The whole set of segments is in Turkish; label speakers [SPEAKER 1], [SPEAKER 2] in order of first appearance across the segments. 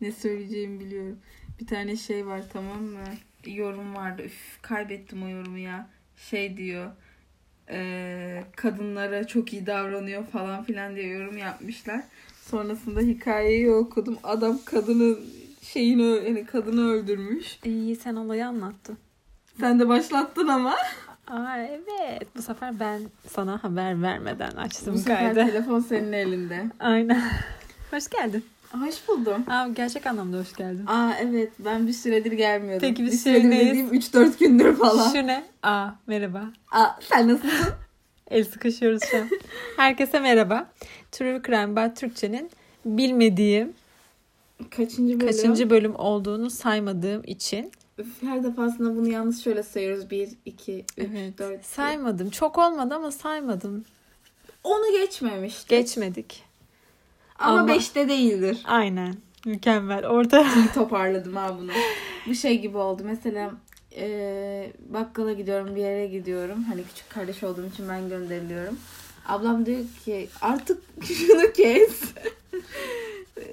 [SPEAKER 1] Ne söyleyeceğimi biliyorum. Bir tane şey var tamam mı? Yorum vardı. Üf, kaybettim o yorumu ya. Şey diyor. eee, kadınlara çok iyi davranıyor falan filan diye yorum yapmışlar. Sonrasında hikayeyi okudum. Adam kadının şeyini ö- yani kadını öldürmüş.
[SPEAKER 2] İyi sen olayı anlattın.
[SPEAKER 1] Sen de başlattın ama.
[SPEAKER 2] Aa evet. Bu sefer ben sana haber vermeden açtım
[SPEAKER 1] Bu sefer
[SPEAKER 2] kaydı.
[SPEAKER 1] telefon senin elinde.
[SPEAKER 2] Aynen. Hoş geldin.
[SPEAKER 1] Hoş buldum.
[SPEAKER 2] Aa, gerçek anlamda hoş geldin.
[SPEAKER 1] Aa evet ben bir süredir gelmiyordum.
[SPEAKER 2] Peki, biz
[SPEAKER 1] bir şey süredir
[SPEAKER 2] seninleyiz.
[SPEAKER 1] dediğim 3-4 gündür falan.
[SPEAKER 2] Şu ne? Aa merhaba.
[SPEAKER 1] Aa sen nasılsın?
[SPEAKER 2] El sıkışıyoruz şu an. Herkese merhaba. True Crime by Türkçe'nin bilmediğim,
[SPEAKER 1] Kaçıncı bölüm?
[SPEAKER 2] kaçıncı bölüm olduğunu saymadığım için.
[SPEAKER 1] Üf, Her defasında bunu yalnız şöyle sayıyoruz. 1, 2, 3,
[SPEAKER 2] Evet.
[SPEAKER 1] 4.
[SPEAKER 2] Saymadım. Çok olmadı ama saymadım.
[SPEAKER 1] Onu geçmemiş.
[SPEAKER 2] Geçmedik.
[SPEAKER 1] Ama
[SPEAKER 2] Ama-
[SPEAKER 1] 5'te değildir.
[SPEAKER 2] Aynen. Mükemmel. Orada
[SPEAKER 1] İyi toparladım ha bunu. Bu şey gibi oldu. Mesela eee, bakkala gidiyorum, bir yere gidiyorum. Hani küçük kardeş olduğum için ben gönderiliyorum. Ablam diyor ki artık şunu kes.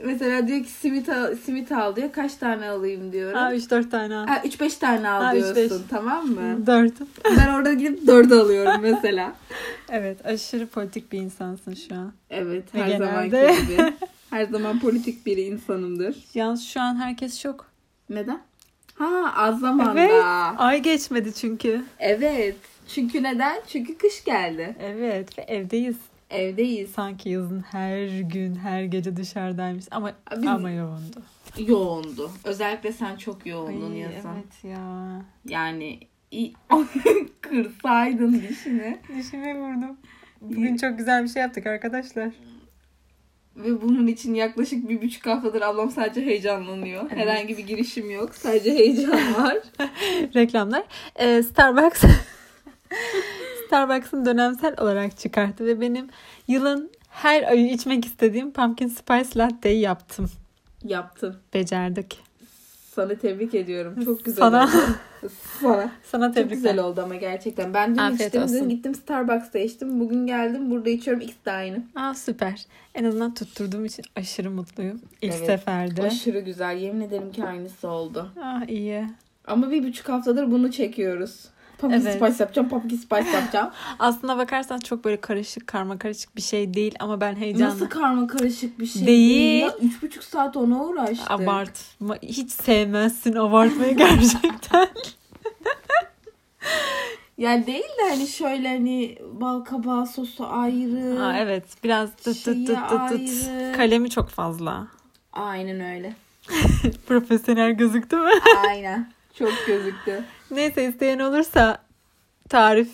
[SPEAKER 1] Mesela diyor ki simit al, simit al diyor. Kaç tane alayım diyorum.
[SPEAKER 2] Aa 3-4 tane al.
[SPEAKER 1] Ha, 3-5 tane al
[SPEAKER 2] Ha, üç, beş.
[SPEAKER 1] diyorsun tamam mı?
[SPEAKER 2] 4.
[SPEAKER 1] ben orada gidip 4 alıyorum mesela.
[SPEAKER 2] Evet aşırı politik bir insansın şu an.
[SPEAKER 1] Evet
[SPEAKER 2] Ve
[SPEAKER 1] her
[SPEAKER 2] genelde-
[SPEAKER 1] zamanki gibi. Her zaman politik bir insanımdır.
[SPEAKER 2] Yalnız şu an herkes şok.
[SPEAKER 1] Neden? Ha az zamanda.
[SPEAKER 2] Evet.
[SPEAKER 1] Evet.
[SPEAKER 2] Ay geçmedi çünkü.
[SPEAKER 1] Çünkü neden? Çünkü kış geldi.
[SPEAKER 2] Evet ve evdeyiz.
[SPEAKER 1] Evdeyiz.
[SPEAKER 2] Sanki yazın her gün her gece dışarıdaymış ama
[SPEAKER 1] Abi biz-
[SPEAKER 2] ama yoğundu.
[SPEAKER 1] Yoğundu. Özellikle sen çok yoğundun
[SPEAKER 2] Ay,
[SPEAKER 1] yazın.
[SPEAKER 2] evet ya.
[SPEAKER 1] Yani i- kırsaydın dişini.
[SPEAKER 2] Dişime vurdum. Bugün çok güzel bir şey yaptık arkadaşlar.
[SPEAKER 1] Ve bunun için yaklaşık bir buçuk haftadır ablam sadece heyecanlanıyor.
[SPEAKER 2] Evet.
[SPEAKER 1] Herhangi bir girişim yok. Sadece heyecan var.
[SPEAKER 2] Reklamlar. Ee, Starbucks Starbucks'ın dönemsel olarak çıkarttı ve benim yılın her ayı içmek istediğim pumpkin spice latte'yi yaptım.
[SPEAKER 1] Yaptın.
[SPEAKER 2] Becerdik.
[SPEAKER 1] Sana tebrik ediyorum. Çok güzel
[SPEAKER 2] Sana-
[SPEAKER 1] oldu. Sana.
[SPEAKER 2] Sana
[SPEAKER 1] Çok
[SPEAKER 2] tebrikler.
[SPEAKER 1] güzel oldu ama gerçekten. Ben dün
[SPEAKER 2] Afiyet
[SPEAKER 1] içtim.
[SPEAKER 2] olsun.
[SPEAKER 1] Dün gittim Starbucks'ta içtim. Bugün geldim burada içiyorum. İkisi de aynı.
[SPEAKER 2] Aa süper. En azından tutturduğum için aşırı mutluyum. İlk
[SPEAKER 1] Evet.
[SPEAKER 2] seferde.
[SPEAKER 1] Aşırı güzel. Yemin ederim ki aynısı oldu.
[SPEAKER 2] Ah iyi.
[SPEAKER 1] Ama bir buçuk haftadır bunu çekiyoruz. Pumpkin
[SPEAKER 2] Evet.
[SPEAKER 1] spice yapacağım. Pumpkin spice yapacağım.
[SPEAKER 2] Aslına bakarsan çok böyle karışık, karma karışık bir şey değil ama ben heyecanla
[SPEAKER 1] Nasıl karma karışık bir şey
[SPEAKER 2] Değil.
[SPEAKER 1] ya. Üç buçuk saat ona uğraştık.
[SPEAKER 2] abartma. Hiç sevmezsin abartmayı gerçekten.
[SPEAKER 1] Yani değil de hani şöyle hani bal kabağı sosu ayrı.
[SPEAKER 2] Aa, evet biraz tıt
[SPEAKER 1] Şeyi
[SPEAKER 2] tıt tıt tıt tıt.
[SPEAKER 1] ayrı.
[SPEAKER 2] Kalemi çok fazla.
[SPEAKER 1] Aynen öyle.
[SPEAKER 2] Profesyonel gözüktü mü?
[SPEAKER 1] Aynen. Çok gözüktü.
[SPEAKER 2] Neyse isteyen olursa tarif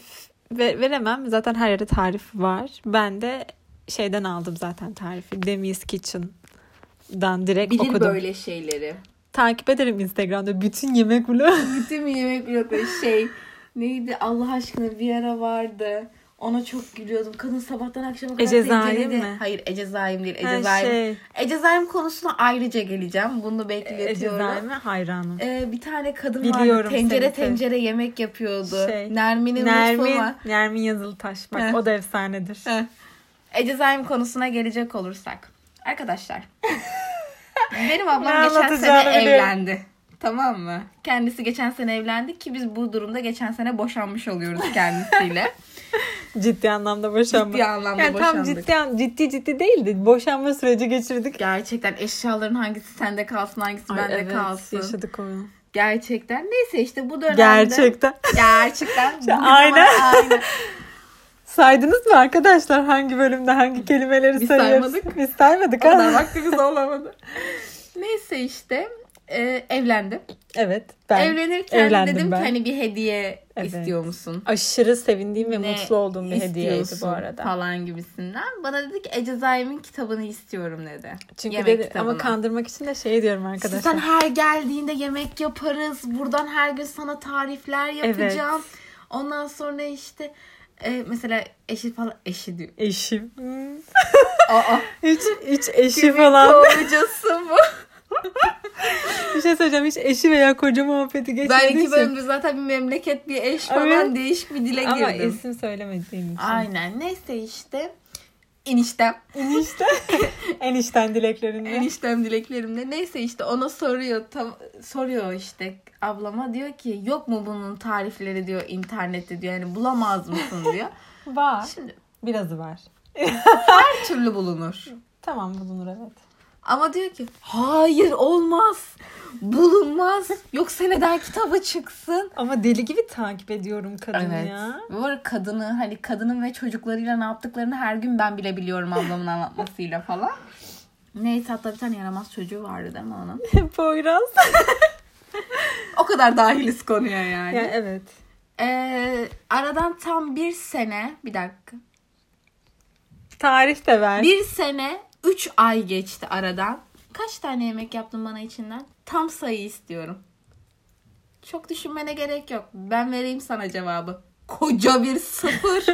[SPEAKER 2] ve- veremem. Zaten her yerde tarif var. Ben de şeyden aldım zaten tarifi. Demi's Kitchen'dan direkt
[SPEAKER 1] Bilir
[SPEAKER 2] okudum.
[SPEAKER 1] böyle şeyleri.
[SPEAKER 2] Takip ederim Instagram'da bütün yemek vlogu.
[SPEAKER 1] Bütün yemek blokları şey neydi Allah aşkına bir ara vardı. Ona çok gülüyordum. Kadın sabahtan akşama kadar
[SPEAKER 2] Ece Zaim
[SPEAKER 1] tencerede-
[SPEAKER 2] mi?
[SPEAKER 1] Hayır Ece Zaim değil. Ece
[SPEAKER 2] Her
[SPEAKER 1] Zaim.
[SPEAKER 2] şey.
[SPEAKER 1] Ece Zaim konusuna ayrıca geleceğim. Bunu bekletiyorum.
[SPEAKER 2] Ecezayim'e hayranım.
[SPEAKER 1] Ee, bir tane kadın vardı.
[SPEAKER 2] Biliyorum
[SPEAKER 1] Tencere
[SPEAKER 2] seni,
[SPEAKER 1] tencere yemek yapıyordu.
[SPEAKER 2] Şey,
[SPEAKER 1] Nermin'in
[SPEAKER 2] Nermin,
[SPEAKER 1] mutfağı.
[SPEAKER 2] Nermin Yazılıtaş. Bak
[SPEAKER 1] Heh.
[SPEAKER 2] o da efsanedir.
[SPEAKER 1] Heh. Ece Zaim konusuna gelecek olursak. Arkadaşlar. benim
[SPEAKER 2] Ne
[SPEAKER 1] ablam geçen sene
[SPEAKER 2] anlatacağını biliyorum.
[SPEAKER 1] evlendi. Tamam mı? Kendisi geçen sene evlendi ki biz bu durumda geçen sene boşanmış oluyoruz kendisiyle.
[SPEAKER 2] Ciddi anlamda boşanma.
[SPEAKER 1] Ciddi anlamda
[SPEAKER 2] yani tam
[SPEAKER 1] boşandık.
[SPEAKER 2] ciddi, an- ciddi ciddi değildi. Boşanma süreci geçirdik.
[SPEAKER 1] Gerçekten eşyaların hangisi sende kalsın hangisi
[SPEAKER 2] Ay,
[SPEAKER 1] bende
[SPEAKER 2] evet,
[SPEAKER 1] kalsın.
[SPEAKER 2] Yaşadık onu.
[SPEAKER 1] Gerçekten. Neyse işte bu dönemde.
[SPEAKER 2] Gerçekten.
[SPEAKER 1] Gerçekten. Bugün ama
[SPEAKER 2] aynen.
[SPEAKER 1] aynen.
[SPEAKER 2] Saydınız mı arkadaşlar hangi bölümde hangi kelimeleri
[SPEAKER 1] Biz
[SPEAKER 2] sayıyoruz?
[SPEAKER 1] saymadık.
[SPEAKER 2] Biz saymadık.
[SPEAKER 1] O kadar
[SPEAKER 2] ha?
[SPEAKER 1] vaktimiz olamadı. Neyse işte e, evlendim.
[SPEAKER 2] Evet ben
[SPEAKER 1] Evlenirken
[SPEAKER 2] evlendim
[SPEAKER 1] dedim
[SPEAKER 2] ben.
[SPEAKER 1] ki hani bir hediye
[SPEAKER 2] Evet.
[SPEAKER 1] istiyor musun?
[SPEAKER 2] Aşırı sevindiğim ve
[SPEAKER 1] Ne
[SPEAKER 2] mutlu olduğum bir hediyeydi bu
[SPEAKER 1] istiyorsun
[SPEAKER 2] arada.
[SPEAKER 1] Falan gibisinden. Bana dedi ki Ece Zaim'in kitabını istiyorum dedi.
[SPEAKER 2] Çünkü
[SPEAKER 1] Yemek
[SPEAKER 2] dedi,
[SPEAKER 1] kitabını.
[SPEAKER 2] ama kandırmak için de şey diyorum arkadaşlar.
[SPEAKER 1] Sen her geldiğinde yemek yaparız. Buradan her gün sana tarifler yapacağım. Ondan sonra işte e, mesela eşi falan eşi diyor.
[SPEAKER 2] Eşim.
[SPEAKER 1] Aa,
[SPEAKER 2] Hiç, hiç eşi falan.
[SPEAKER 1] kocası mı?
[SPEAKER 2] Bir şey söyleyeceğim. Hiç eşi veya koca muhabbeti
[SPEAKER 1] Ben
[SPEAKER 2] geçmediği
[SPEAKER 1] iki
[SPEAKER 2] için.
[SPEAKER 1] bölümde zaten bir memleket bir eş
[SPEAKER 2] Evet.
[SPEAKER 1] falan değişik bir dile
[SPEAKER 2] Ama
[SPEAKER 1] girdim.
[SPEAKER 2] isim söylemediğim için.
[SPEAKER 1] Aynen neyse işte eniştem.
[SPEAKER 2] Enişte. Enişten dileklerinde.
[SPEAKER 1] Eniştem dileklerimde. Neyse işte ona soruyor. tam- soruyor işte ablama diyor ki yok mu bunun tarifleri diyor internette diyor. Yani bulamaz mısın diyor.
[SPEAKER 2] var.
[SPEAKER 1] Şimdi
[SPEAKER 2] Birazı var.
[SPEAKER 1] her türlü bulunur.
[SPEAKER 2] Tamam bulunur evet.
[SPEAKER 1] Ama diyor ki hayır olmaz. Bulunmaz. Yok seneden kitaba çıksın.
[SPEAKER 2] Ama deli gibi takip ediyorum kadını
[SPEAKER 1] Evet.
[SPEAKER 2] ya.
[SPEAKER 1] Bu arada kadını hani kadının ve çocuklarıyla ne yaptıklarını her gün ben bile biliyorum ablamın anlatmasıyla falan. Neyse hatta bir tane yaramaz çocuğu vardı değil mi onun?
[SPEAKER 2] Poyraz.
[SPEAKER 1] O kadar dahiliz konuya yani.
[SPEAKER 2] Ya evet.
[SPEAKER 1] Ee, aradan tam bir sene, bir dakika.
[SPEAKER 2] Tarif de ver.
[SPEAKER 1] Bir sene, üç ay geçti aradan. Kaç tane yemek yaptın bana içinden? Tam sayı istiyorum. Çok düşünmene gerek yok. Ben vereyim sana cevabı. Koca bir sıfır.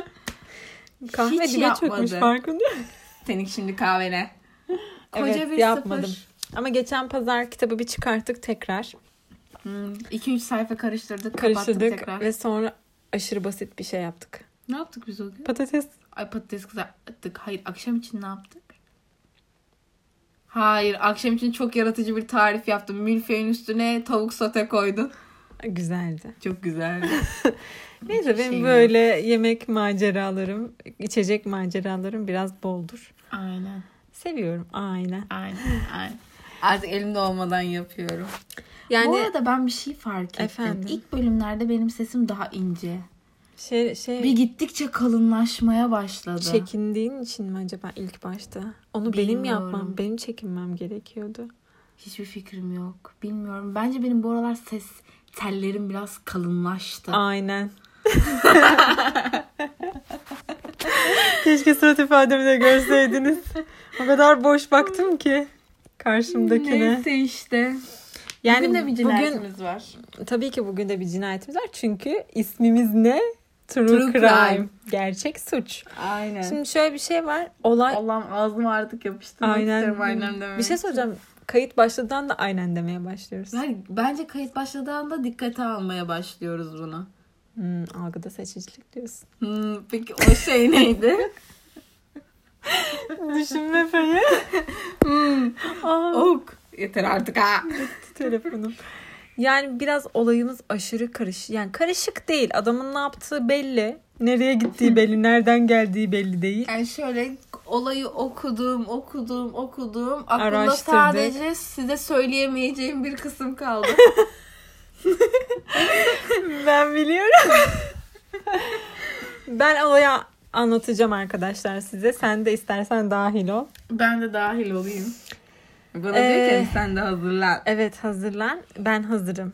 [SPEAKER 2] Kahve
[SPEAKER 1] hiç
[SPEAKER 2] dibe çökmüş
[SPEAKER 1] yapmadı.
[SPEAKER 2] farkında mısın?
[SPEAKER 1] Senin şimdi kahvene. Koca
[SPEAKER 2] Evet,
[SPEAKER 1] bir
[SPEAKER 2] yapmadım.
[SPEAKER 1] sıfır.
[SPEAKER 2] Ama geçen pazar kitabı bir çıkarttık tekrar.
[SPEAKER 1] 2-3 Hmm, sayfa karıştırdık, kapattık
[SPEAKER 2] Karıştırdık
[SPEAKER 1] tekrar.
[SPEAKER 2] ve sonra aşırı basit bir şey yaptık.
[SPEAKER 1] Ne yaptık biz o gün?
[SPEAKER 2] Patates
[SPEAKER 1] Ay patates kızarttık. Hayır akşam için ne yaptık? Hayır akşam için çok yaratıcı bir tarif yaptım. Milföy'ün üstüne tavuk sote koydun.
[SPEAKER 2] güzeldi.
[SPEAKER 1] Çok güzel.
[SPEAKER 2] Neyse benim
[SPEAKER 1] Şey-
[SPEAKER 2] böyle yemek maceralarım, içecek maceralarım biraz boldur.
[SPEAKER 1] aynen.
[SPEAKER 2] Seviyorum aynen.
[SPEAKER 1] Aynen. Aynen. Artık elimde olmadan yapıyorum. Bu
[SPEAKER 2] Yani
[SPEAKER 1] arada ben bir şey fark ettim.
[SPEAKER 2] Efendim?
[SPEAKER 1] İlk bölümlerde benim sesim daha ince.
[SPEAKER 2] şey şey
[SPEAKER 1] Bir gittikçe kalınlaşmaya başladı.
[SPEAKER 2] çekindiğin için mi acaba ilk başta? Onu benim
[SPEAKER 1] Bilmiyorum.
[SPEAKER 2] yapmam, benim çekinmem gerekiyordu.
[SPEAKER 1] Hiçbir fikrim yok. Bilmiyorum. Bence benim bu aralar ses tellerim biraz kalınlaştı.
[SPEAKER 2] Aynen. Keşke surat ifademi de görseydiniz. O kadar boş baktım ki karşımdakine.
[SPEAKER 1] Neyse işte.
[SPEAKER 2] Yani
[SPEAKER 1] bugün de bir
[SPEAKER 2] bugün
[SPEAKER 1] cinayetimiz var.
[SPEAKER 2] tabii ki bugün de bir cinayetimiz var. Çünkü ismimiz ne? True,
[SPEAKER 1] True crime.
[SPEAKER 2] crime. Gerçek suç.
[SPEAKER 1] Aynen.
[SPEAKER 2] Şimdi şöyle bir şey var. Olay
[SPEAKER 1] Allah'ım ağzıma artık yapıştırmak
[SPEAKER 2] aynen.
[SPEAKER 1] isterim aynen demek.
[SPEAKER 2] Bir şey soracağım. Kayıt başladığından da aynen demeye başlıyoruz.
[SPEAKER 1] Ben- Bence kayıt başladığında dikkate almaya başlıyoruz bunu.
[SPEAKER 2] Hmm, algıda seçicilik diyorsun.
[SPEAKER 1] Hmm, peki o şey neydi?
[SPEAKER 2] Düşünme feyi.
[SPEAKER 1] Hmm.
[SPEAKER 2] Aa.
[SPEAKER 1] ok. Yeter artık ha.
[SPEAKER 2] telefonum. Yani biraz olayımız aşırı karışık. Yani karışık değil. Adamın ne yaptığı belli. Nereye gittiği belli. Nereden geldiği belli değil.
[SPEAKER 1] Yani şöyle olayı okudum, okudum, okudum. Aklımda
[SPEAKER 2] Araştırdık.
[SPEAKER 1] sadece size söyleyemeyeceğim bir kısım kaldı.
[SPEAKER 2] Ben biliyorum. ben olayı anlatacağım arkadaşlar size. Sen de istersen dahil ol.
[SPEAKER 1] ben de dahil olayım. Bana
[SPEAKER 2] Ee,
[SPEAKER 1] diyor ki sen de hazırlan.
[SPEAKER 2] Evet hazırlan. Ben hazırım.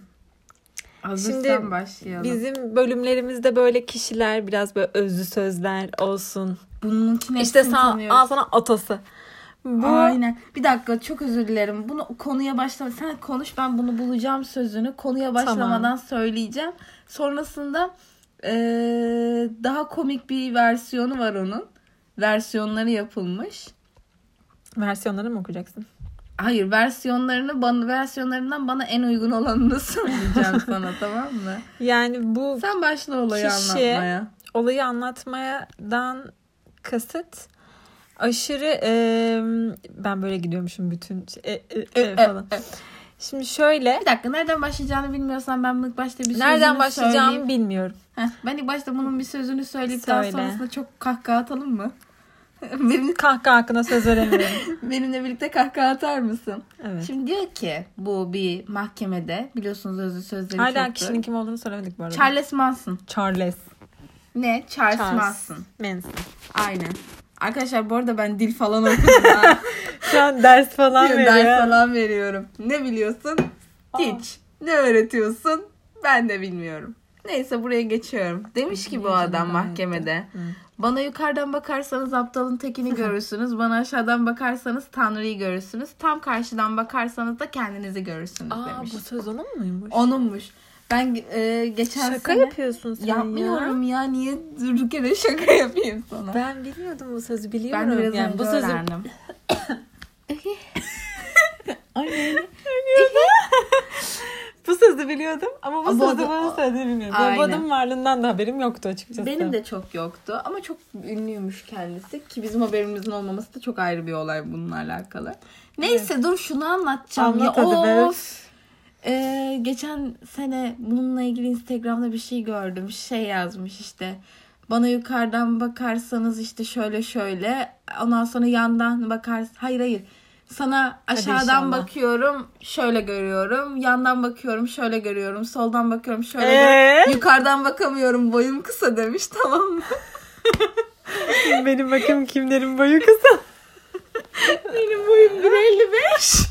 [SPEAKER 1] Hazırsan
[SPEAKER 2] şimdi
[SPEAKER 1] başlayalım.
[SPEAKER 2] Bizim bölümlerimizde böyle kişiler biraz böyle özlü sözler olsun.
[SPEAKER 1] Bununkine
[SPEAKER 2] İşte sana, al sana atası. Bu
[SPEAKER 1] Aynen. Bir dakika çok özür dilerim. Bunu konuya başlama. Sen konuş ben bunu bulacağım sözünü. Konuya başlamadan
[SPEAKER 2] Tamam.
[SPEAKER 1] söyleyeceğim. Sonrasında eee, daha komik bir versiyonu var onun. Versiyonları yapılmış.
[SPEAKER 2] versiyonları mı okuyacaksın?
[SPEAKER 1] Hayır versiyonlarını bana versiyonlarından bana en uygun olanını söyleyeceğim sana tamam mı?
[SPEAKER 2] Yani bu
[SPEAKER 1] Sen başla olayı
[SPEAKER 2] Kişi-
[SPEAKER 1] anlatmaya.
[SPEAKER 2] olayı anlatmadan kasıt aşırı em, ben böyle gidiyormuşum bütün e, e, e falan.
[SPEAKER 1] e.
[SPEAKER 2] Şimdi şöyle
[SPEAKER 1] Bir dakika nereden başlayacağını bilmiyorsan ben ilk başta bir
[SPEAKER 2] nereden
[SPEAKER 1] sözünü söyleyeyim.
[SPEAKER 2] başlayacağımı bilmiyorum.
[SPEAKER 1] Heh, ben ilk başta bunun bir sözünü söyleyip daha
[SPEAKER 2] Söyle.
[SPEAKER 1] sonrasında çok kahkaha atalım mı? Benimle,
[SPEAKER 2] Kahkaha hakkında söz veremiyorum.
[SPEAKER 1] benimle birlikte kahkaha atar mısın?
[SPEAKER 2] evet.
[SPEAKER 1] Şimdi diyor ki bu bir mahkemede biliyorsunuz özlü sözleri
[SPEAKER 2] Hala
[SPEAKER 1] çoktur.
[SPEAKER 2] kişinin kim olduğunu söylemedik bu arada.
[SPEAKER 1] Charles Manson.
[SPEAKER 2] Charles.
[SPEAKER 1] Ne? Charles,
[SPEAKER 2] Charles.
[SPEAKER 1] Manson.
[SPEAKER 2] Manson.
[SPEAKER 1] Aynen. Arkadaşlar bu arada ben dil falan okudum ha.
[SPEAKER 2] Şu an ders falan
[SPEAKER 1] Diyor, Ders
[SPEAKER 2] veriyor.
[SPEAKER 1] falan veriyorum. Ne biliyorsun?
[SPEAKER 2] Aa.
[SPEAKER 1] Teach. Ne öğretiyorsun? Ben de bilmiyorum. Neyse buraya geçiyorum. Demiş ki bu
[SPEAKER 2] Heyecanı
[SPEAKER 1] adam
[SPEAKER 2] gayet
[SPEAKER 1] mahkemede. Bana yukarıdan bakarsanız aptalın tekini görürsünüz. Bana aşağıdan bakarsanız Tanrı'yı görürsünüz. Tam karşıdan bakarsanız da kendinizi görürsünüz
[SPEAKER 2] Aa
[SPEAKER 1] demiş.
[SPEAKER 2] bu söz onun muymuş?
[SPEAKER 1] Onunmuş. Ben e, geçen
[SPEAKER 2] Şaka
[SPEAKER 1] sene
[SPEAKER 2] yapıyorsun sen ya.
[SPEAKER 1] yapmıyorum ya. Niye durduk yere şaka yapayım sana? Ben,
[SPEAKER 2] Ben bilmiyordum bu sözü biliyorum.
[SPEAKER 1] de biraz
[SPEAKER 2] yani
[SPEAKER 1] önce
[SPEAKER 2] bu sözü
[SPEAKER 1] öğrendim.
[SPEAKER 2] Bu sözü biliyordum ama bu
[SPEAKER 1] Ama
[SPEAKER 2] sözü
[SPEAKER 1] bu-
[SPEAKER 2] bana söylediğini bilmiyordum.
[SPEAKER 1] Aynen.
[SPEAKER 2] Bu adamın varlığından da haberim yoktu açıkçası.
[SPEAKER 1] Benim de çok yoktu ama çok ünlüymüş kendisi ki bizim haberimizin olmaması da çok ayrı bir olay bununla alakalı. Neyse dur şunu anlatacağım
[SPEAKER 2] Anlat
[SPEAKER 1] ya.
[SPEAKER 2] hadi be.
[SPEAKER 1] Of! Ee, geçen sene bununla ilgili Instagram'da bir şey gördüm. Şey yazmış işte. Bana yukarıdan bakarsanız işte şöyle şöyle. Ondan sonra yandan bakar. Hayır hayır. Sana aşağıdan
[SPEAKER 2] inşallah.
[SPEAKER 1] bakıyorum şöyle görüyorum. Yandan bakıyorum şöyle görüyorum. Soldan bakıyorum şöyle.
[SPEAKER 2] Ee?
[SPEAKER 1] gör- Yukarıdan bakamıyorum boyum kısa demiş tamam mı?
[SPEAKER 2] Benim bakım kimlerin boyu kısa.
[SPEAKER 1] Benim boyum 1.55.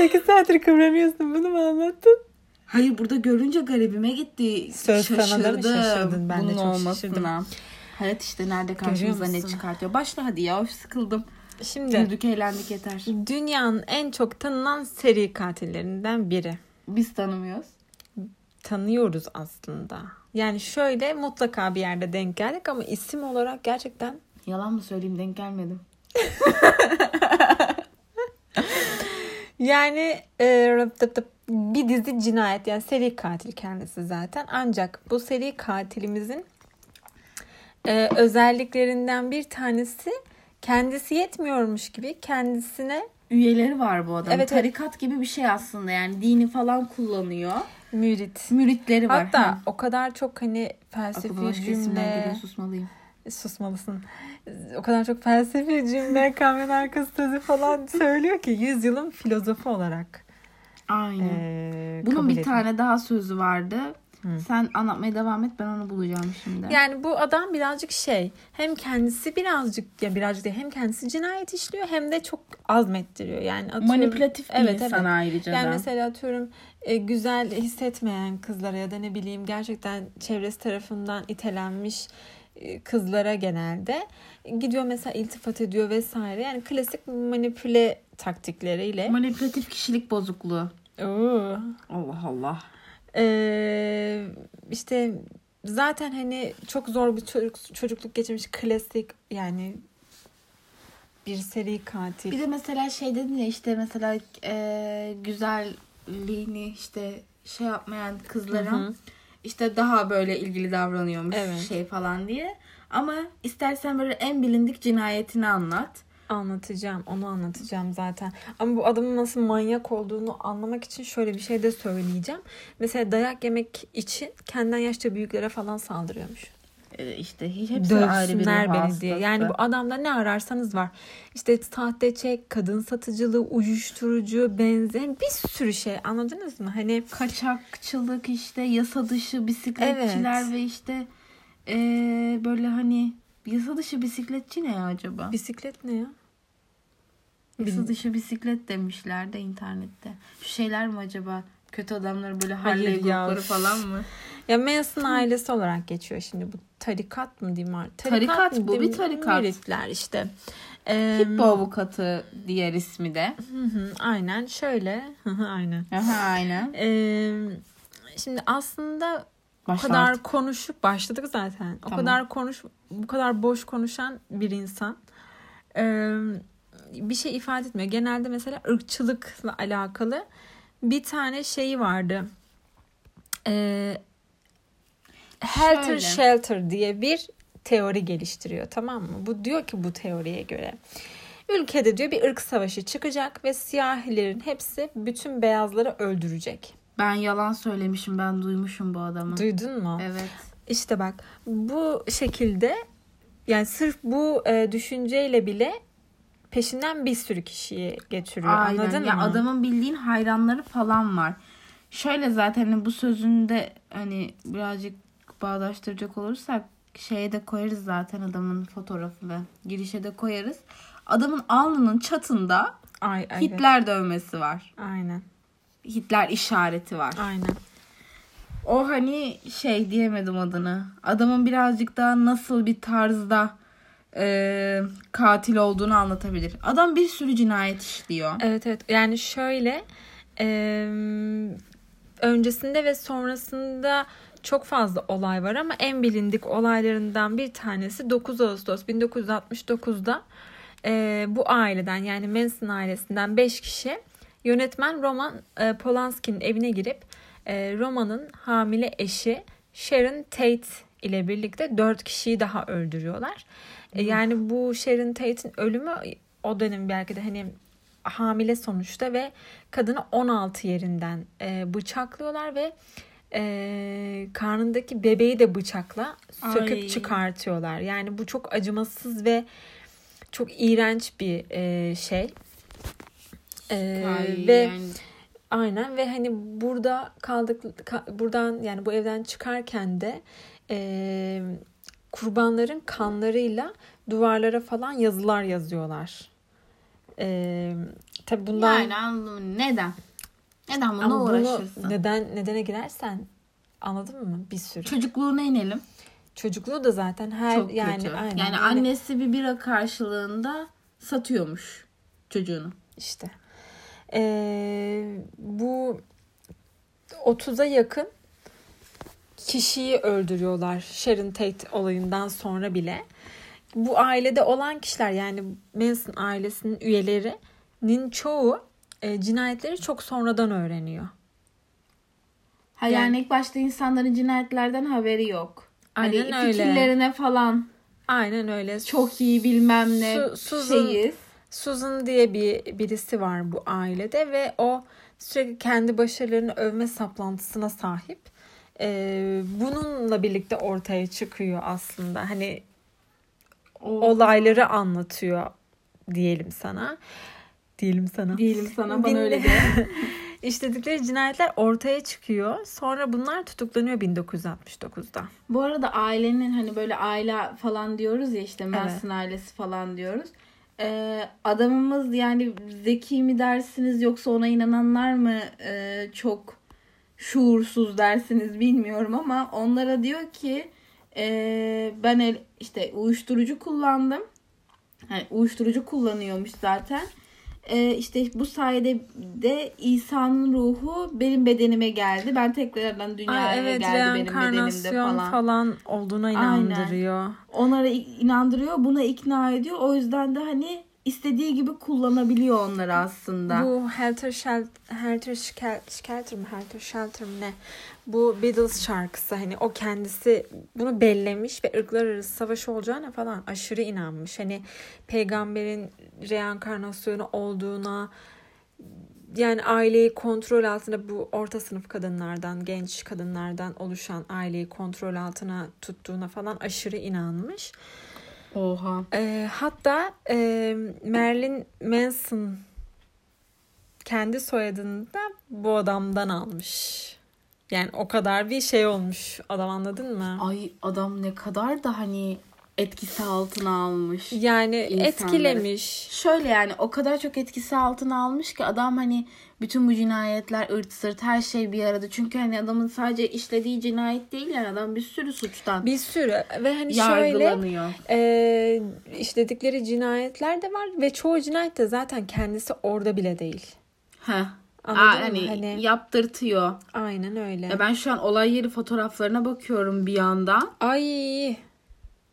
[SPEAKER 2] 8 saattir kıvranıyorsun bunu mu anlattın?
[SPEAKER 1] Hayır burada görünce garibime gitti.
[SPEAKER 2] Söz sana da
[SPEAKER 1] şaşırdım.
[SPEAKER 2] mı şaşırdın? Ben de
[SPEAKER 1] Bunun
[SPEAKER 2] çok
[SPEAKER 1] olmasına.
[SPEAKER 2] şaşırdım.
[SPEAKER 1] Hayat işte nerede karşımıza ne
[SPEAKER 2] musun?
[SPEAKER 1] çıkartıyor. Başla hadi ya of sıkıldım.
[SPEAKER 2] Şimdi
[SPEAKER 1] Güldük eğlendik yeter.
[SPEAKER 2] dünyanın en çok tanınan seri katillerinden biri.
[SPEAKER 1] Biz tanımıyoruz.
[SPEAKER 2] Tanıyoruz aslında. Yani şöyle mutlaka bir yerde denk geldik ama isim olarak gerçekten
[SPEAKER 1] Yalan mı söyleyeyim denk gelmedim.
[SPEAKER 2] Yani e, rıp tıp tıp, bir dizi cinayet yani seri katil kendisi zaten. Ancak bu seri katilimizin e, özelliklerinden bir tanesi kendisi yetmiyormuş gibi kendisine
[SPEAKER 1] Üyeleri var bu adam.
[SPEAKER 2] Evet, evet.
[SPEAKER 1] Tarikat gibi bir şey aslında yani dini falan kullanıyor.
[SPEAKER 2] mürit.
[SPEAKER 1] Müritleri var.
[SPEAKER 2] Hatta
[SPEAKER 1] Hı.
[SPEAKER 2] o kadar çok hani
[SPEAKER 1] aklıma
[SPEAKER 2] felsefi
[SPEAKER 1] başka isimler
[SPEAKER 2] cümle
[SPEAKER 1] geliyor susmalıyım.
[SPEAKER 2] susmalısın. O kadar çok felsefi cümle, kamyon arkası sözü falan söylüyor ki yüzyılın filozofu olarak.
[SPEAKER 1] Aynen.
[SPEAKER 2] e,
[SPEAKER 1] Bunun
[SPEAKER 2] kabul
[SPEAKER 1] bir
[SPEAKER 2] edilmiş.
[SPEAKER 1] tane daha sözü vardı.
[SPEAKER 2] Hı.
[SPEAKER 1] Sen anlatmaya devam et ben onu bulacağım şimdi.
[SPEAKER 2] Yani bu adam birazcık şey hem kendisi birazcık ya birazcık değil hem kendisi cinayet işliyor hem de çok azmettiriyor. Yani atıyorum,
[SPEAKER 1] Manipülatif bir
[SPEAKER 2] Evet,
[SPEAKER 1] insan
[SPEAKER 2] evet.
[SPEAKER 1] ayrıca
[SPEAKER 2] Yani
[SPEAKER 1] da.
[SPEAKER 2] mesela atıyorum e, güzel hissetmeyen kızlara ya da ne bileyim gerçekten çevresi tarafından itelenmiş e, kızlara genelde gidiyor mesela iltifat ediyor vesaire. Yani klasik manipüle taktikleriyle.
[SPEAKER 1] Manipülatif kişilik bozukluğu.
[SPEAKER 2] Oo.
[SPEAKER 1] Allah Allah.
[SPEAKER 2] Ee, işte zaten hani çok zor bir çocuk- çocukluk geçirmiş klasik yani bir seri katil.
[SPEAKER 1] Bir de mesela şey dedin ya işte mesela e, güzelliğini işte şey yapmayan kızlara
[SPEAKER 2] Hı hı.
[SPEAKER 1] işte daha böyle ilgili davranıyormuş
[SPEAKER 2] Evet.
[SPEAKER 1] şey falan diye. Ama istersen böyle en bilindik cinayetini anlat.
[SPEAKER 2] Anlatacağım, onu anlatacağım zaten. Ama bu adamın nasıl manyak olduğunu anlamak için şöyle bir şey de söyleyeceğim. Mesela dayak yemek için kendinden yaşça büyüklere falan saldırıyormuş.
[SPEAKER 1] E, işte hiç hepsi ayrı bir ruh
[SPEAKER 2] Dövsünler beni
[SPEAKER 1] hastası.
[SPEAKER 2] diye. Yani bu adamda ne ararsanız var. İşte sahte çek, kadın satıcılığı, uyuşturucu, benzin bir sürü şey anladınız mı? Hani
[SPEAKER 1] kaçakçılık işte yasa dışı bisikletçiler
[SPEAKER 2] Evet.
[SPEAKER 1] ve işte e, böyle hani yasa dışı bisikletçi ne ya acaba?
[SPEAKER 2] Bisiklet ne ya?
[SPEAKER 1] Yasa dışı bisiklet demişler de internette. Şu şeyler mi acaba? Kötü adamlar böyle
[SPEAKER 2] Hayır
[SPEAKER 1] Harley
[SPEAKER 2] ya,
[SPEAKER 1] grupları
[SPEAKER 2] üf.
[SPEAKER 1] falan mı?
[SPEAKER 2] Ya Manson ailesi olarak geçiyor şimdi bu tarikat mı diyeyim artık?
[SPEAKER 1] Tarikat
[SPEAKER 2] mı
[SPEAKER 1] bu,
[SPEAKER 2] diyeyim?
[SPEAKER 1] bir tarikat.
[SPEAKER 2] Müritler işte. Ee,
[SPEAKER 1] Hippo avukatı diğer ismi de.
[SPEAKER 2] hı hı, aynen şöyle. Hı hı, aynen.
[SPEAKER 1] Aha aynen.
[SPEAKER 2] Ee, şimdi aslında o
[SPEAKER 1] Başlat.
[SPEAKER 2] kadar konuşup başladık zaten. O
[SPEAKER 1] Tamam.
[SPEAKER 2] kadar konuş bu kadar boş konuşan bir insan. Ee, bir şey ifade etmiyor. Genelde mesela ırkçılıkla alakalı bir tane şeyi vardı. Ee, Helter
[SPEAKER 1] Şöyle.
[SPEAKER 2] Shelter diye bir teori geliştiriyor tamam mı? Bu diyor ki bu teoriye göre ülkede diyor bir ırk savaşı çıkacak ve siyahilerin hepsi bütün beyazları öldürecek.
[SPEAKER 1] Ben yalan söylemişim ben duymuşum bu adamı.
[SPEAKER 2] Duydun mu?
[SPEAKER 1] evet.
[SPEAKER 2] İşte bak bu şekilde yani sırf bu e, düşünceyle bile peşinden bir sürü kişiyi getiriyor.
[SPEAKER 1] Aynen.
[SPEAKER 2] Anladın
[SPEAKER 1] ya
[SPEAKER 2] mı?
[SPEAKER 1] adamın bildiğin hayranları falan var. Şöyle zaten hani bu sözünde hani birazcık bağdaştıracak olursak şeye de koyarız zaten adamın fotoğrafını. Girişe de koyarız. Adamın alnının çatında
[SPEAKER 2] Ay, evet.
[SPEAKER 1] Hitler dövmesi var.
[SPEAKER 2] Aynen.
[SPEAKER 1] Hitler işareti var.
[SPEAKER 2] Aynen.
[SPEAKER 1] O hani şey diyemedim adını. Adamın birazcık daha nasıl bir tarzda e, katil olduğunu anlatabilir. Adam bir sürü cinayet işliyor.
[SPEAKER 2] Evet evet. Yani şöyle em, öncesinde ve sonrasında çok fazla olay var ama en bilindik olaylarından bir tanesi 9 Ağustos 1969'da e, bu aileden yani Manson ailesinden 5 kişi Yönetmen Roman e, Polanski'nin evine girip e, Roman'ın hamile eşi Sharon Tate ile birlikte dört kişiyi daha öldürüyorlar. E, yani bu Sharon Tate'in ölümü o dönem belki de hani hamile sonuçta ve kadını 16 yerinden e, bıçaklıyorlar ve e, karnındaki bebeği de bıçakla söküp
[SPEAKER 1] Ay.
[SPEAKER 2] çıkartıyorlar. Yani bu çok acımasız ve çok iğrenç bir e, şey. E,
[SPEAKER 1] Ay,
[SPEAKER 2] ve
[SPEAKER 1] yani
[SPEAKER 2] Aynen ve hani burada kaldık ka- buradan yani bu evden çıkarken de eee, kurbanların kanlarıyla duvarlara falan yazılar yazıyorlar. Eee tabi bundan
[SPEAKER 1] Yani anladım. Neden? Neden bununla
[SPEAKER 2] ama bunu
[SPEAKER 1] uğraşırsın?
[SPEAKER 2] neden nedene girersen anladın mı? Bir sürü.
[SPEAKER 1] Çocukluğuna inelim.
[SPEAKER 2] Çocukluğu da zaten her
[SPEAKER 1] Çok
[SPEAKER 2] yani
[SPEAKER 1] kötü.
[SPEAKER 2] aynen
[SPEAKER 1] yani
[SPEAKER 2] yani
[SPEAKER 1] annesi bir bira karşılığında satıyormuş çocuğunu.
[SPEAKER 2] İşte. Ee, bu 30'a yakın kişiyi öldürüyorlar Sharon Tate olayından sonra bile. Bu ailede olan kişiler yani Manson ailesinin üyelerinin çoğu e, cinayetleri çok sonradan öğreniyor.
[SPEAKER 1] Ha yani, ilk başta insanların cinayetlerden haberi yok.
[SPEAKER 2] Aynen
[SPEAKER 1] hani
[SPEAKER 2] öyle.
[SPEAKER 1] Fikirlerine falan
[SPEAKER 2] Aynen öyle.
[SPEAKER 1] çok iyi bilmem ne
[SPEAKER 2] Su- Susan-
[SPEAKER 1] şeyiz.
[SPEAKER 2] Susan diye bir birisi var bu ailede ve o sürekli kendi başarılarını övme saplantısına sahip. Ee, bununla birlikte ortaya çıkıyor aslında. Hani olayları anlatıyor diyelim sana. Diyelim sana.
[SPEAKER 1] Diyelim sana bana
[SPEAKER 2] Dinle.
[SPEAKER 1] öyle de.
[SPEAKER 2] İşledikleri cinayetler ortaya çıkıyor. Sonra bunlar tutuklanıyor 1969'da.
[SPEAKER 1] Bu arada ailenin hani böyle aile falan diyoruz ya işte Manson ailesi falan diyoruz. Ee, adamımız yani zeki mi dersiniz yoksa ona inananlar mı e, çok şuursuz dersiniz bilmiyorum ama onlara diyor ki e, ben el, işte uyuşturucu kullandım. Yani uyuşturucu kullanıyormuş zaten. E, işte bu sayede de İsa'nın ruhu benim bedenime geldi. Ben tekrardan dünyaya
[SPEAKER 2] Ay, evet
[SPEAKER 1] geldi benim bedenimde
[SPEAKER 2] reenkarnasyon
[SPEAKER 1] falan
[SPEAKER 2] falan. olduğuna
[SPEAKER 1] Aynen.
[SPEAKER 2] inandırıyor.
[SPEAKER 1] onlara i- inandırıyor, buna ikna ediyor. O yüzden de hani istediği gibi kullanabiliyor onları aslında.
[SPEAKER 2] Bu Helter Shelter, Helter Skel- Skelter mi Helter Shelter mi ne? Bu Beatles şarkısı hani o kendisi bunu bellemiş ve ırklar arası savaş olacağına falan aşırı inanmış. Hani peygamberin reenkarnasyonu olduğuna yani aileyi kontrol altında bu orta sınıf kadınlardan, genç kadınlardan oluşan aileyi kontrol altına tuttuğuna falan aşırı inanmış.
[SPEAKER 1] Oha.
[SPEAKER 2] Ee, hatta e, Marilyn Manson kendi soyadını da bu adamdan almış. Yani o kadar bir şey olmuş adam anladın mı?
[SPEAKER 1] Ay adam ne kadar da hani etkisi altına almış.
[SPEAKER 2] Yani
[SPEAKER 1] İnsanları.
[SPEAKER 2] etkilemiş.
[SPEAKER 1] Şöyle yani o kadar çok etkisi altına almış ki adam hani bütün bu cinayetler, ırt sırt her şey bir arada. Çünkü hani adamın sadece işlediği cinayet değil yani adam bir sürü suçtan
[SPEAKER 2] Bir sürü ve hani şöyle
[SPEAKER 1] yargılanıyor.
[SPEAKER 2] e, işledikleri cinayetler de var ve çoğu cinayet de zaten kendisi orada bile değil.
[SPEAKER 1] Heh.
[SPEAKER 2] Anladın
[SPEAKER 1] Aa,
[SPEAKER 2] mı?
[SPEAKER 1] hani,
[SPEAKER 2] Hani-
[SPEAKER 1] yaptırtıyor.
[SPEAKER 2] Aynen öyle.
[SPEAKER 1] Ya ben şu an olay yeri fotoğraflarına bakıyorum bir yandan.
[SPEAKER 2] Ay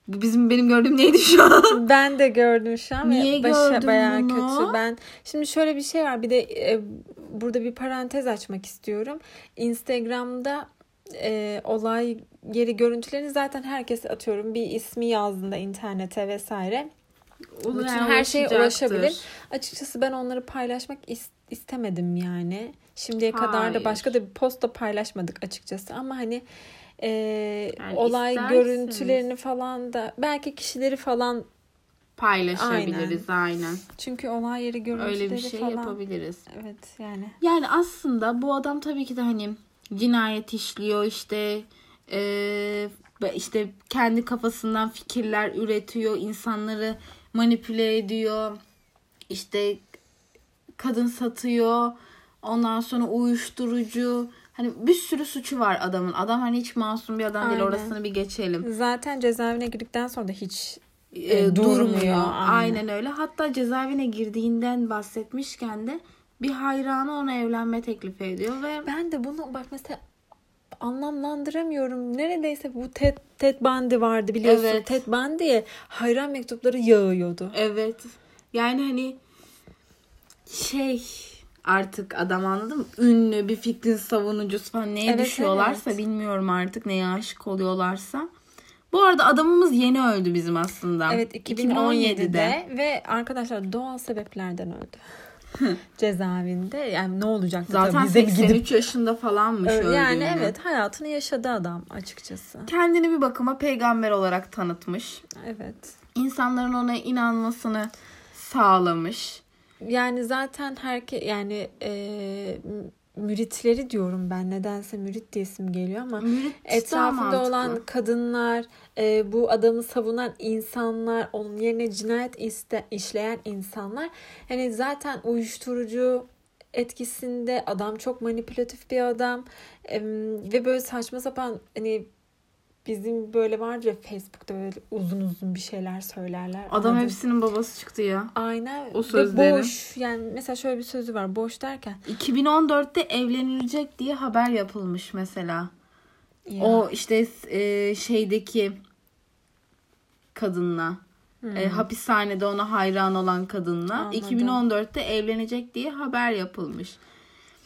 [SPEAKER 1] Bu bizim benim gördüğüm neydi şu an?
[SPEAKER 2] Ben de gördüm şu an. ve
[SPEAKER 1] Niye
[SPEAKER 2] başa-
[SPEAKER 1] gördün
[SPEAKER 2] bayağı
[SPEAKER 1] bunu?
[SPEAKER 2] kötü. Ben şimdi şöyle bir şey var. Bir de e, burada bir parantez açmak istiyorum. Instagram'da e, olay yeri görüntülerini zaten herkes atıyorum bir ismi yazdığında internete vesaire. Bütün her
[SPEAKER 1] şey
[SPEAKER 2] şeye ulaşabilir. Açıkçası ben onları paylaşmak is- istemedim yani. Şimdiye kadar da
[SPEAKER 1] Hayır.
[SPEAKER 2] başka da bir post da paylaşmadık açıkçası ama hani e,
[SPEAKER 1] Yani
[SPEAKER 2] olay
[SPEAKER 1] isterseniz.
[SPEAKER 2] görüntülerini falan da belki kişileri falan
[SPEAKER 1] Paylaşabiliriz aynen.
[SPEAKER 2] Çünkü olay yeri görüntüleri
[SPEAKER 1] Öyle bir şey
[SPEAKER 2] falan.
[SPEAKER 1] yapabiliriz.
[SPEAKER 2] Evet yani.
[SPEAKER 1] Yani aslında bu adam tabii ki de hani cinayet işliyor işte eee, ve işte kendi kafasından fikirler üretiyor, insanları manipüle ediyor. İşte kadın satıyor. Ondan sonra uyuşturucu. Hani bir sürü suçu var adamın. Adam hani hiç masum bir adam değil.
[SPEAKER 2] Aynen.
[SPEAKER 1] Orasını bir geçelim.
[SPEAKER 2] Zaten cezaevine girdikten sonra da hiç
[SPEAKER 1] e,
[SPEAKER 2] E,
[SPEAKER 1] durmuyor.
[SPEAKER 2] durmuyor.
[SPEAKER 1] Aynen.
[SPEAKER 2] Aynen
[SPEAKER 1] öyle. Hatta cezaevine girdiğinden bahsetmişken de bir hayranı ona evlenme teklif ediyor ve
[SPEAKER 2] ben de bunu bak mesela anlamlandıramıyorum. Neredeyse bu Ted, Ted Bundy vardı biliyorsun.
[SPEAKER 1] Evet.
[SPEAKER 2] Ted Bundy'ye hayran mektupları yağıyordu.
[SPEAKER 1] evet yani hani şey artık adam anladın mı? Ünlü bir fikrin savunucusu falan neye
[SPEAKER 2] Evet,
[SPEAKER 1] düşüyorlarsa
[SPEAKER 2] evet.
[SPEAKER 1] bilmiyorum artık neye aşık oluyorlarsa. Bu arada adamımız yeni öldü bizim aslında.
[SPEAKER 2] Evet 2017'de ve arkadaşlar doğal sebeplerden öldü. Cezaevinde yani ne olacaktı
[SPEAKER 1] Zaten
[SPEAKER 2] tabii bize
[SPEAKER 1] 83
[SPEAKER 2] gidip.
[SPEAKER 1] yaşında falanmış
[SPEAKER 2] Ö-
[SPEAKER 1] öldüğünde.
[SPEAKER 2] Yani evet hayatını yaşadı adam açıkçası.
[SPEAKER 1] Kendini bir bakıma peygamber olarak tanıtmış.
[SPEAKER 2] Evet.
[SPEAKER 1] İnsanların ona inanmasını sağlamış.
[SPEAKER 2] Yani zaten herke yani e, m- müritleri diyorum ben nedense mürit diyesim geliyor ama
[SPEAKER 1] Mürit
[SPEAKER 2] etrafında
[SPEAKER 1] mantıklı.
[SPEAKER 2] olan kadınlar, e, bu adamı savunan insanlar, onun yerine cinayet iste, işleyen insanlar hani zaten uyuşturucu etkisinde adam çok manipülatif bir adam Em, ve böyle saçma sapan hani bizim böyle vardır ya Facebook'ta böyle uzun uzun bir şeyler söylerler. Hani
[SPEAKER 1] Adam
[SPEAKER 2] Anladın?
[SPEAKER 1] hepsinin babası çıktı ya.
[SPEAKER 2] Aynen.
[SPEAKER 1] O
[SPEAKER 2] O
[SPEAKER 1] sözlerin.
[SPEAKER 2] boş. Yani mesela şöyle bir sözü var. Boş derken.
[SPEAKER 1] 2014'te evlenilecek diye haber yapılmış mesela.
[SPEAKER 2] ya,
[SPEAKER 1] O işte e, şeydeki kadınla e, hapishanede ona hayran olan kadınla
[SPEAKER 2] Anladım.
[SPEAKER 1] 2014'te evlenecek diye haber yapılmış.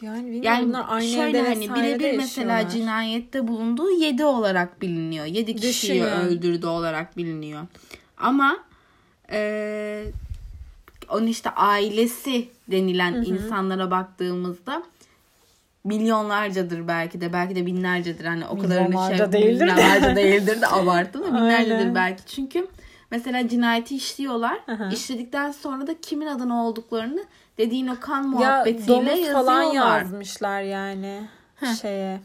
[SPEAKER 2] yani bilmiyorum
[SPEAKER 1] Yani
[SPEAKER 2] bunlar aynı
[SPEAKER 1] şöyle
[SPEAKER 2] evde
[SPEAKER 1] hani
[SPEAKER 2] vesaire de
[SPEAKER 1] birebir mesela
[SPEAKER 2] yaşıyorlar.
[SPEAKER 1] cinayette bulunduğu 7 olarak biliniyor. 7 kişiyi
[SPEAKER 2] Düşünün.
[SPEAKER 1] öldürdü olarak biliniyor. Ama e, onun işte ailesi denilen insanlara baktığımızda milyonlarcadır belki de belki de binlercedir hani o kadar hani
[SPEAKER 2] Milyonlarca
[SPEAKER 1] şey
[SPEAKER 2] değildir de.
[SPEAKER 1] milyonlarca değildir de abarttım ama binlercedir
[SPEAKER 2] Aynen.
[SPEAKER 1] belki çünkü mesela cinayeti işliyorlar
[SPEAKER 2] Hı hı.
[SPEAKER 1] işledikten sonra da kimin adına olduklarını dediğin o kan
[SPEAKER 2] ya
[SPEAKER 1] muhabbetiyle
[SPEAKER 2] domuz falan
[SPEAKER 1] yazıyorlar.
[SPEAKER 2] yazmışlar yani şeye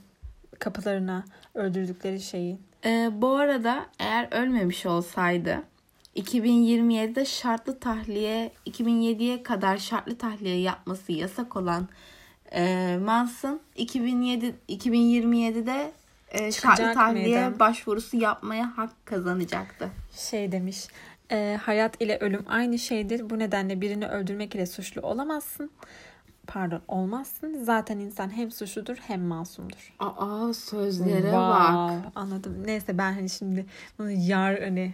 [SPEAKER 2] kapılarına öldürdükleri şeyi.
[SPEAKER 1] Ee, bu arada eğer ölmemiş olsaydı 2027'de şartlı tahliye 2007'ye kadar şartlı tahliye yapması yasak olan e, Manson 2007 2027'de e, şartlı
[SPEAKER 2] Çıkacak
[SPEAKER 1] tahliye
[SPEAKER 2] mıydı?
[SPEAKER 1] başvurusu yapmaya hak kazanacaktı.
[SPEAKER 2] Şey demiş. "E, hayat ile ölüm aynı şeydir. Bu nedenle birini öldürmek ile suçlu olamazsın. Pardon olmazsın. Zaten insan hem suçludur hem masumdur.
[SPEAKER 1] Aa sözlere bak.
[SPEAKER 2] Wow, Anladım. Neyse ben hani şimdi bunu yar hani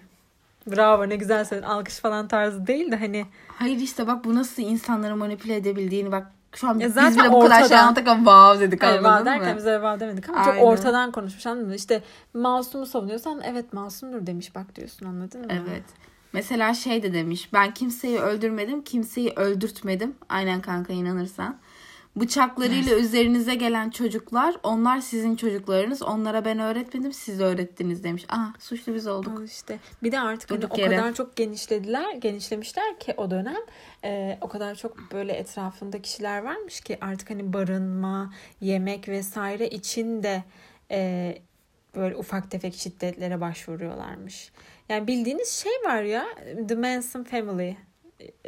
[SPEAKER 2] bravo ne güzel söyledin alkış falan tarzı değil de hani
[SPEAKER 1] Hayır işte bak bu nasıl insanları manipüle edebildiğini bak şu an
[SPEAKER 2] Ya
[SPEAKER 1] biz
[SPEAKER 2] zaten
[SPEAKER 1] bile bu kadar şey
[SPEAKER 2] ortadan-
[SPEAKER 1] anlattık ama wow dedik
[SPEAKER 2] hani vav
[SPEAKER 1] anladın
[SPEAKER 2] derken
[SPEAKER 1] mı?
[SPEAKER 2] bize vav demedik ama
[SPEAKER 1] Aynen.
[SPEAKER 2] çok ortadan konuşmuş anladın mı? İşte masumu savunuyorsan evet masumdur demiş bak diyorsun anladın mı?
[SPEAKER 1] Evet. Mesela şey de demiş. Ben kimseyi öldürmedim, kimseyi öldürtmedim. Aynen kanka inanırsan. Bıçaklarıyla üzerinize gelen çocuklar, onlar sizin çocuklarınız. Onlara ben öğretmedim, siz öğrettiniz demiş. Aa, suçlu biz olduk.
[SPEAKER 2] Al işte bir de artık hani
[SPEAKER 1] Durduk
[SPEAKER 2] o
[SPEAKER 1] yere.
[SPEAKER 2] kadar çok genişlediler genişlemişler ki o dönem e, o kadar çok böyle etrafında kişiler varmış ki artık hani barınma yemek vesaire için de e, böyle ufak tefek şiddetlere başvuruyorlarmış. Yani bildiğiniz şey var ya The Manson Family.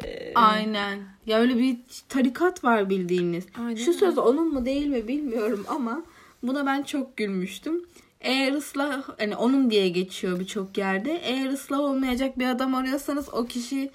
[SPEAKER 2] E,
[SPEAKER 1] Aynen. Ya öyle bir tarikat var bildiğiniz.
[SPEAKER 2] Aynen
[SPEAKER 1] Şu söz onun mu değil mi bilmiyorum ama buna ben çok gülmüştüm. Eğer ıslah hani onun diye geçiyor birçok yerde. Eğer ıslah olmayacak bir adam arıyorsanız o kişi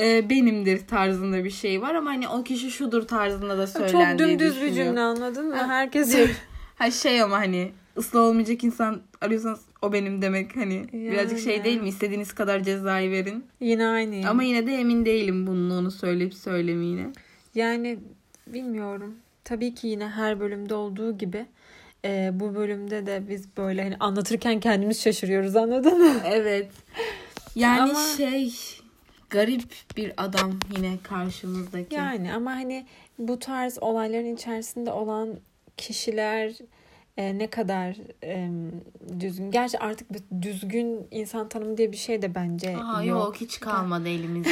[SPEAKER 1] e, benimdir tarzında bir şey var ama hani o kişi şudur tarzında da söylendiği
[SPEAKER 2] çok dümdüz bir
[SPEAKER 1] düşünüyor.
[SPEAKER 2] cümle anladın mı?
[SPEAKER 1] Ha,
[SPEAKER 2] Herkes
[SPEAKER 1] Diyor, Ha şey ama hani ıslah olmayacak insan arıyorsanız o benim demek hani birazcık şey
[SPEAKER 2] Yani.
[SPEAKER 1] değil mi? İstediğiniz kadar cezayı verin.
[SPEAKER 2] yine aynı.
[SPEAKER 1] Ama yine de emin değilim bunun onu söyleyip söylemeyine.
[SPEAKER 2] Yani bilmiyorum. Tabii ki yine her bölümde olduğu gibi e, bu bölümde de biz böyle hani anlatırken kendimiz şaşırıyoruz anladın mı?
[SPEAKER 1] Evet. Yani
[SPEAKER 2] Ama-
[SPEAKER 1] şey garip bir adam yine karşımızdaki.
[SPEAKER 2] Yani ama hani bu tarz olayların içerisinde olan kişiler e, ne kadar e, düzgün. Gerçi artık bir düzgün insan tanımı diye bir şey de bence
[SPEAKER 1] Aa, yok.
[SPEAKER 2] yok.
[SPEAKER 1] hiç kalmadı elimizde.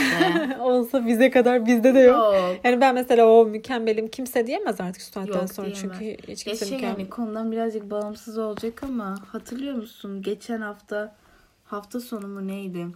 [SPEAKER 2] Olsa bize kadar bizde de yok.
[SPEAKER 1] yok.
[SPEAKER 2] Yani ben mesela o mükemmelim kimse diyemez artık şu saatten
[SPEAKER 1] Yok,
[SPEAKER 2] sonra
[SPEAKER 1] diyemez.
[SPEAKER 2] çünkü hiç
[SPEAKER 1] Ya
[SPEAKER 2] kimse
[SPEAKER 1] şey
[SPEAKER 2] mükemmel.
[SPEAKER 1] yani konudan birazcık bağımsız olacak ama hatırlıyor musun geçen hafta hafta sonu mu neydi?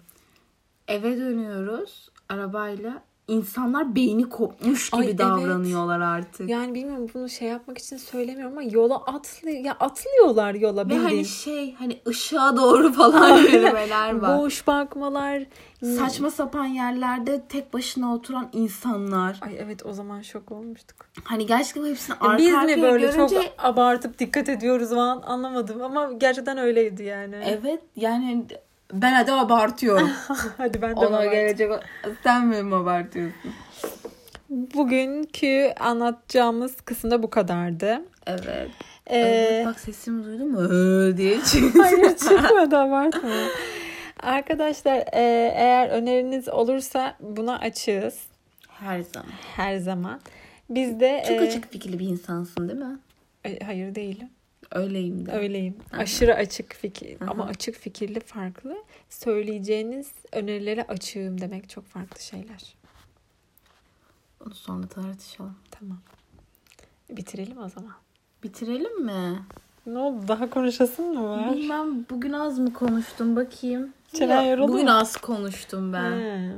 [SPEAKER 1] Eve dönüyoruz arabayla. İnsanlar beyni kopmuş gibi
[SPEAKER 2] Ay, evet.
[SPEAKER 1] davranıyorlar artık.
[SPEAKER 2] Yani bilmiyorum bunu şey yapmak için söylemiyorum ama yola atlı ya atlıyorlar yola
[SPEAKER 1] Ve hani
[SPEAKER 2] bildiğin.
[SPEAKER 1] şey hani ışığa doğru falan yürümeler var.
[SPEAKER 2] Boş bakmalar.
[SPEAKER 1] Saçma sapan yerlerde tek başına oturan insanlar.
[SPEAKER 2] Ay evet o zaman şok olmuştuk.
[SPEAKER 1] Hani gerçekten hepsini
[SPEAKER 2] Ya
[SPEAKER 1] arka
[SPEAKER 2] Biz
[SPEAKER 1] arkaya
[SPEAKER 2] mi böyle
[SPEAKER 1] görünce...
[SPEAKER 2] çok abartıp dikkat ediyoruz falan anlamadım ama gerçekten öyleydi yani.
[SPEAKER 1] Evet yani ben hadi abartıyorum.
[SPEAKER 2] Hadi ben de
[SPEAKER 1] Ona
[SPEAKER 2] abartayım.
[SPEAKER 1] gelecek... Sen mi abartıyorsun?
[SPEAKER 2] Bugünkü anlatacağımız kısımda bu kadardı.
[SPEAKER 1] Evet.
[SPEAKER 2] Ee,
[SPEAKER 1] Evet, bak sesimi duydun mu? Ee, diye çıktı.
[SPEAKER 2] Hayır çıkmadı abartma. Arkadaşlar e, eğer öneriniz olursa buna açığız
[SPEAKER 1] Her zaman.
[SPEAKER 2] her zaman. Biz de
[SPEAKER 1] Çok
[SPEAKER 2] e,
[SPEAKER 1] açık fikirli bir insansın değil mi?
[SPEAKER 2] e, hayır değilim.
[SPEAKER 1] Öyleyim de.
[SPEAKER 2] Öyleyim.
[SPEAKER 1] Aha.
[SPEAKER 2] Aşırı açık fikir
[SPEAKER 1] Aha.
[SPEAKER 2] ama açık fikirli farklı. Söyleyeceğiniz önerilere açığım demek çok farklı şeyler.
[SPEAKER 1] Onu sonra tartışalım.
[SPEAKER 2] Tamam. Bitirelim o zaman.
[SPEAKER 1] Bitirelim mi?
[SPEAKER 2] Ne oldu? Daha konuşasın mı var?
[SPEAKER 1] Bilmem bugün az mı konuştum bakayım.
[SPEAKER 2] Çenen
[SPEAKER 1] Ya,
[SPEAKER 2] yoruldu
[SPEAKER 1] Bugün
[SPEAKER 2] mu?
[SPEAKER 1] az konuştum ben.
[SPEAKER 2] He.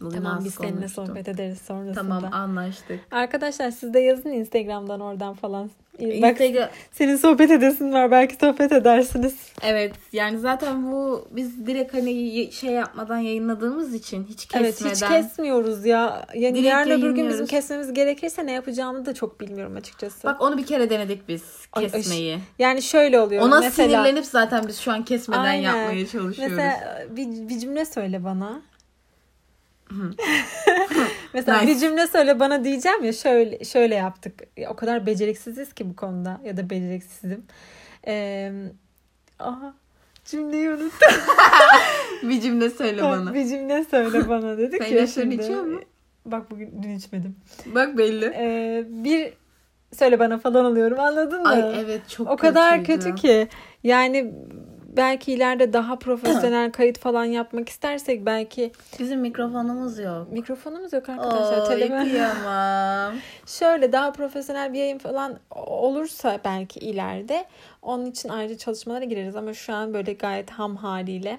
[SPEAKER 1] Bugün
[SPEAKER 2] Tamam
[SPEAKER 1] az
[SPEAKER 2] biz seninle
[SPEAKER 1] konuştum.
[SPEAKER 2] sohbet ederiz sonrasında.
[SPEAKER 1] Tamam anlaştık.
[SPEAKER 2] Arkadaşlar siz de yazın Instagram'dan oradan falan. Bak
[SPEAKER 1] Instagram...
[SPEAKER 2] senin sohbet edesin var belki sohbet edersiniz.
[SPEAKER 1] Evet yani zaten bu biz direkt hani y- şey yapmadan yayınladığımız için hiç
[SPEAKER 2] Evet
[SPEAKER 1] kesmeden.
[SPEAKER 2] hiç kesmiyoruz ya. Yani
[SPEAKER 1] Direkt
[SPEAKER 2] yarın öbür gün bizim
[SPEAKER 1] yayınlıyoruz.
[SPEAKER 2] kesmemiz gerekirse ne yapacağımı da çok bilmiyorum açıkçası.
[SPEAKER 1] Bak onu bir kere denedik biz
[SPEAKER 2] Ay, aş-
[SPEAKER 1] kesmeyi.
[SPEAKER 2] yani şöyle oluyor
[SPEAKER 1] Ona
[SPEAKER 2] mesela.
[SPEAKER 1] sinirlenip zaten biz şu an kesmeden
[SPEAKER 2] Aynen.
[SPEAKER 1] yapmaya çalışıyoruz.
[SPEAKER 2] Mesela bir, bir cümle söyle bana.
[SPEAKER 1] Hı.
[SPEAKER 2] mesela
[SPEAKER 1] Nice.
[SPEAKER 2] bir cümle söyle bana diyeceğim ya şöyle şöyle yaptık. Ya, O kadar beceriksiziz ki bu konuda ya da beceriksizim. Ee, aha cümleyi unuttum.
[SPEAKER 1] Bir cümle söyle bana.
[SPEAKER 2] Bir cümle söyle bana dedik
[SPEAKER 1] Sen
[SPEAKER 2] ya
[SPEAKER 1] ilaçlarını
[SPEAKER 2] şimdi.
[SPEAKER 1] içiyor musun?
[SPEAKER 2] Bak bugün dün içmedim.
[SPEAKER 1] Bak belli.
[SPEAKER 2] Ee, bir söyle bana falan alıyorum anladın mı?
[SPEAKER 1] Ay evet çok
[SPEAKER 2] o kadar
[SPEAKER 1] kötüydü.
[SPEAKER 2] kötü ki. Yani belki ileride daha profesyonel kayıt falan yapmak istersek belki
[SPEAKER 1] Bizim mikrofonumuz yok.
[SPEAKER 2] mikrofonumuz yok arkadaşlar.
[SPEAKER 1] Oy
[SPEAKER 2] Telefon-
[SPEAKER 1] kıyamam.
[SPEAKER 2] Şöyle daha profesyonel bir yayın falan olursa belki ileride onun için ayrıca çalışmalara gireriz ama şu an böyle gayet ham haliyle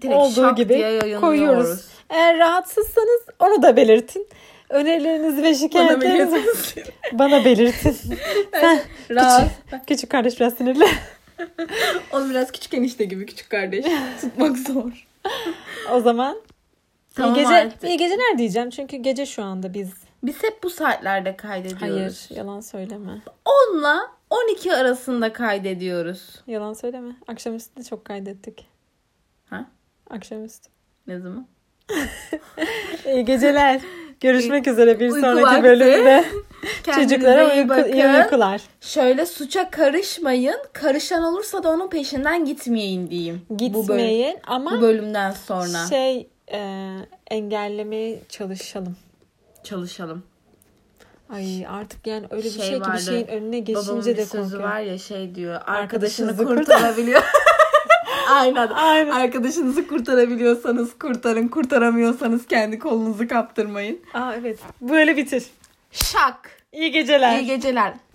[SPEAKER 1] Direkt
[SPEAKER 2] Olduğu
[SPEAKER 1] şak
[SPEAKER 2] gibi
[SPEAKER 1] diye yayınlıyoruz.
[SPEAKER 2] koyuyoruz. Eğer rahatsızsanız onu da belirtin. Önerilerinizi ve
[SPEAKER 1] Bana
[SPEAKER 2] şikayetlerinizi
[SPEAKER 1] biliyorsunuz.
[SPEAKER 2] bana belirtin.
[SPEAKER 1] Rahat.
[SPEAKER 2] Küçük kardeş biraz sinirli.
[SPEAKER 1] Onu biraz küçük enişte gibi küçük kardeş. Tutmak zor.
[SPEAKER 2] O zaman
[SPEAKER 1] Tamam
[SPEAKER 2] iyi, Hani gece,
[SPEAKER 1] artık.
[SPEAKER 2] iyi geceler diyeceğim. Çünkü gece şu anda biz.
[SPEAKER 1] Biz hep bu saatlerde kaydediyoruz.
[SPEAKER 2] Hayır yalan söyleme.
[SPEAKER 1] 10 'la 12 arasında kaydediyoruz.
[SPEAKER 2] Yalan söyleme. Akşamüstü de çok kaydettik.
[SPEAKER 1] Ha?
[SPEAKER 2] Akşamüstü.
[SPEAKER 1] Ne zaman?
[SPEAKER 2] İyi geceler. Görüşmek üzere bir
[SPEAKER 1] uyku
[SPEAKER 2] sonraki
[SPEAKER 1] vakti.
[SPEAKER 2] bölümde.
[SPEAKER 1] Kendinize
[SPEAKER 2] Çocuklara
[SPEAKER 1] iyi
[SPEAKER 2] uyku,
[SPEAKER 1] bakın.
[SPEAKER 2] iyi uykular.
[SPEAKER 1] Şöyle suça karışmayın. Karışan olursa da onun peşinden gitmeyin diyeyim. Bu, böl-
[SPEAKER 2] Gitmeyin ama
[SPEAKER 1] bu bölümden sonra
[SPEAKER 2] şey e, engellemeye çalışalım.
[SPEAKER 1] çalışalım.
[SPEAKER 2] Ay artık yani öyle bir
[SPEAKER 1] Şey
[SPEAKER 2] şey, ki bir
[SPEAKER 1] vardı.
[SPEAKER 2] şeyin önüne
[SPEAKER 1] Babamın
[SPEAKER 2] geçince
[SPEAKER 1] bir
[SPEAKER 2] de
[SPEAKER 1] sözü
[SPEAKER 2] korkuyorum.
[SPEAKER 1] var ya şey diyor. Arkadaşını
[SPEAKER 2] Arkadaşınızı
[SPEAKER 1] kurtarabiliyor. Aynen.
[SPEAKER 2] Aynen.
[SPEAKER 1] Arkadaşınızı kurtarabiliyorsanız kurtarın. Kurtaramıyorsanız kendi kolunuzu kaptırmayın.
[SPEAKER 2] Aa evet. Böyle bitir.
[SPEAKER 1] Şak.
[SPEAKER 2] İyi geceler.
[SPEAKER 1] İyi geceler.